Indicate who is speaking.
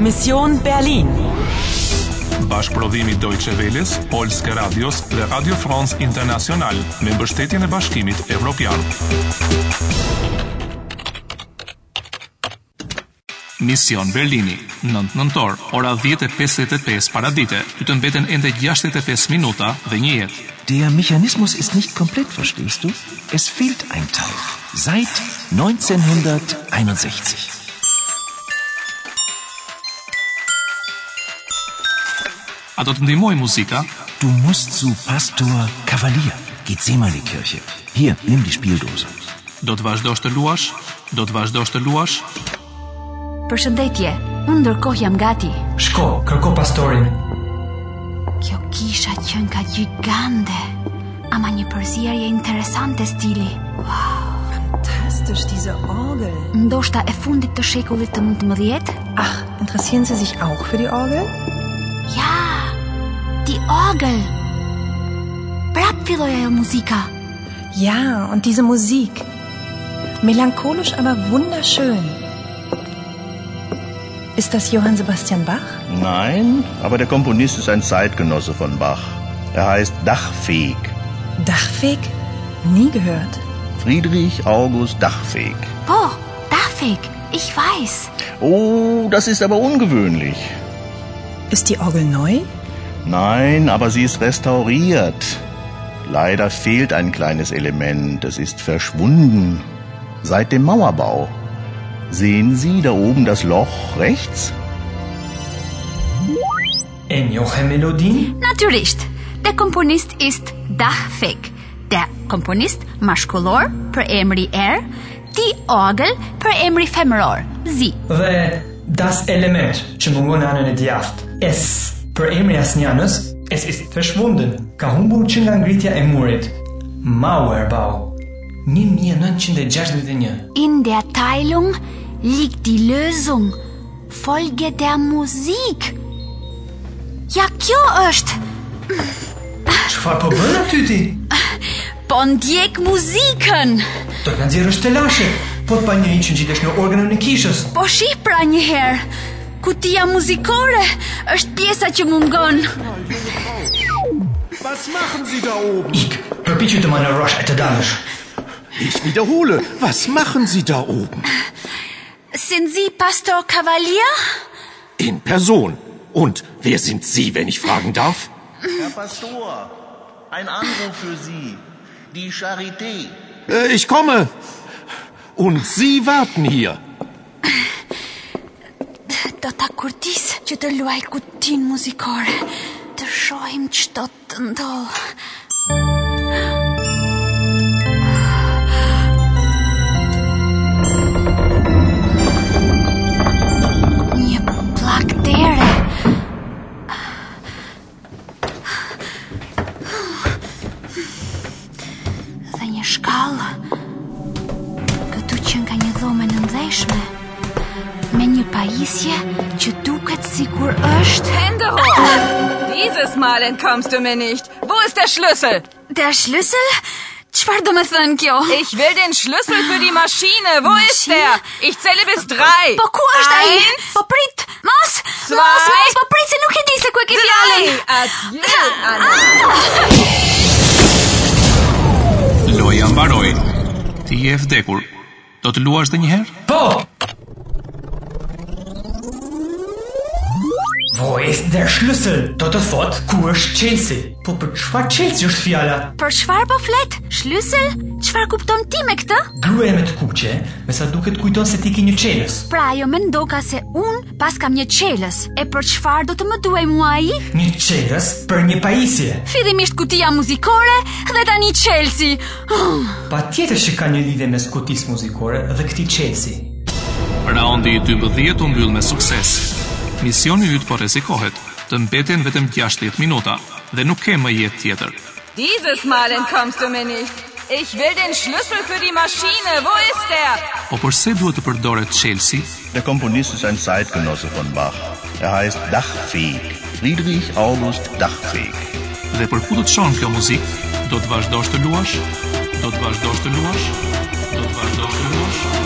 Speaker 1: Mission Berlin.
Speaker 2: Bashkëprodhimi Deutsche Welles, Polske Radios dhe Radio France International me mbështetjen e Bashkimit Evropian. Mision Berlini, 9 nëntor, ora 10:55 paradite. Ju të mbeten ende 65 minuta dhe një jetë.
Speaker 3: Der Mechanismus ist nicht komplett, verstehst du? Es fehlt ein Teil. Seit 1961.
Speaker 2: A do të ndihmoj muzika?
Speaker 3: Du musst zu Pastor Cavalier. Geh zehnmal in die Kirche. Hier, nimm die Spieldose.
Speaker 2: Do të vazhdosh të luash? Do të vazhdosh të luash?
Speaker 4: Përshëndetje, unë ndërkohë jam gati.
Speaker 5: Shko, kërko pastorin.
Speaker 4: Kjo kisha qënë ka gjigande, ama një përzierje interesante stili.
Speaker 6: Fantastisch, diese Orgel.
Speaker 4: Ndoshta e fundit të shekullit të 19?
Speaker 6: Ach, interessieren Sie sich auch für die Orgel?
Speaker 4: Ja, die Orgel. Prap filloi ajo muzika.
Speaker 6: Ja, und diese Musik. Melancholisch, aber wunderschön. Ist das Johann Sebastian Bach?
Speaker 7: Nein, aber der Komponist ist ein Zeitgenosse von Bach. Er heißt Dachfeg.
Speaker 6: Dachfeg? Nie gehört.
Speaker 7: Friedrich August Dachfeg.
Speaker 4: Po, Dafik, ich weiß.
Speaker 7: Oh, das ist aber ungewöhnlich.
Speaker 6: Ist die Orgel neu?
Speaker 7: Nein, aber sie ist restauriert. Leider fehlt ein kleines Element. Es ist verschwunden. Seit dem Mauerbau. Sehen Sie da oben das Loch rechts?
Speaker 5: E njohe melodin?
Speaker 4: Natyrisht, der Komponist ist Dachfig. Der Komponist mashkullor për emri er, ti ogël për emri femëror, zi.
Speaker 5: Dhe das Element që mungon në anën e djathtë. Es për emrin e asnjanës, es ist verschwunden. Ka humbur që nga ngritja e murit. Mauerbau 1961.
Speaker 4: In der Teilung liegt die Lösung. Folge der Musik. Ja, kjo është.
Speaker 5: Çfarë po bën aty ti?
Speaker 4: Po ndjek muzikën.
Speaker 5: Të kanë nxjerrësh të lashe. Po të pa një që ngjitesh në organën e kishës.
Speaker 4: Po shih pra një herë. Kutia muzikore është pjesa që mungon.
Speaker 8: Was machen Sie da oben?
Speaker 5: Ik, përpiqu të manevrosh e të dalësh.
Speaker 8: Ich wiederhole, was machen Sie da oben?
Speaker 4: Sind Sie Pastor Cavalier?
Speaker 8: In Person. Und wer sind Sie, wenn ich fragen darf?
Speaker 7: Herr Pastor, ein Anruf für Sie. Die Charité.
Speaker 8: Äh, ich komme. Und Sie warten hier.
Speaker 4: Do ta kurtis që të luaj kutin muzikore. Të shohim çdo të ndodh. Një plak dere. Dhe një shkallë. Këtu që nga një dhome në ndeshme. Me një pajisje që duket sikur është...
Speaker 9: Hände hoch! Dieses Mal entkommst du mir nicht. Wo ist der Schlüssel?
Speaker 4: Der Schlüssel? Çfarë do me thënë kjo?
Speaker 9: Ich will den Schlüssel für die Maschine. Wo ist
Speaker 4: Maschine?
Speaker 9: der? Ich zähle bis drei.
Speaker 4: Po ku është ai?
Speaker 9: Eins,
Speaker 4: Po prit. Mos,
Speaker 9: Zwei.
Speaker 4: mos, mos, po prit se nuk e di se ku e ke fjalën.
Speaker 9: drei. Adieu, Anna.
Speaker 2: Loja mbaroi. Ti je vdekur. Do të luash edhe një herë?
Speaker 5: Po! Wo ist der Schlüssel? Do të thot, ku është Chelsea? Po për çfarë Chelsea është fjala?
Speaker 4: Për çfarë po flet? Shlysel? Çfarë kupton ti me këtë?
Speaker 5: Gruaja me të kuqe, me sa duket kujton se ti ke një çelës.
Speaker 4: Pra ajo më ndoka se un pas kam një çelës. E për çfarë do të më duaj mua ai?
Speaker 5: Një çelës për një pajisje.
Speaker 4: Fillimisht kutia muzikore dhe tani Chelsea. Oh,
Speaker 5: Patjetër që ka një lidhje mes kutisë muzikore dhe këtij Chelsea.
Speaker 2: Raundi i 12 u mbyll me sukses. Misioni yt po rrezikohet. Të mbeten vetëm 60 minuta dhe nuk ke më jetë tjetër.
Speaker 9: Dieses Mal entkommst du mir nicht. Ich will den Schlüssel für die Maschine. Wo ist er?
Speaker 2: Po përse duhet të përdoret Chelsea?
Speaker 7: Der Komponist ist ein Zeitgenosse von Bach. Er heißt Dachfeg. Friedrich August Dachfeg.
Speaker 2: Dhe për ku do të shon kjo muzikë? Do të vazhdosh të luash? Do të vazhdosh të luash? Do të vazhdosh të luash?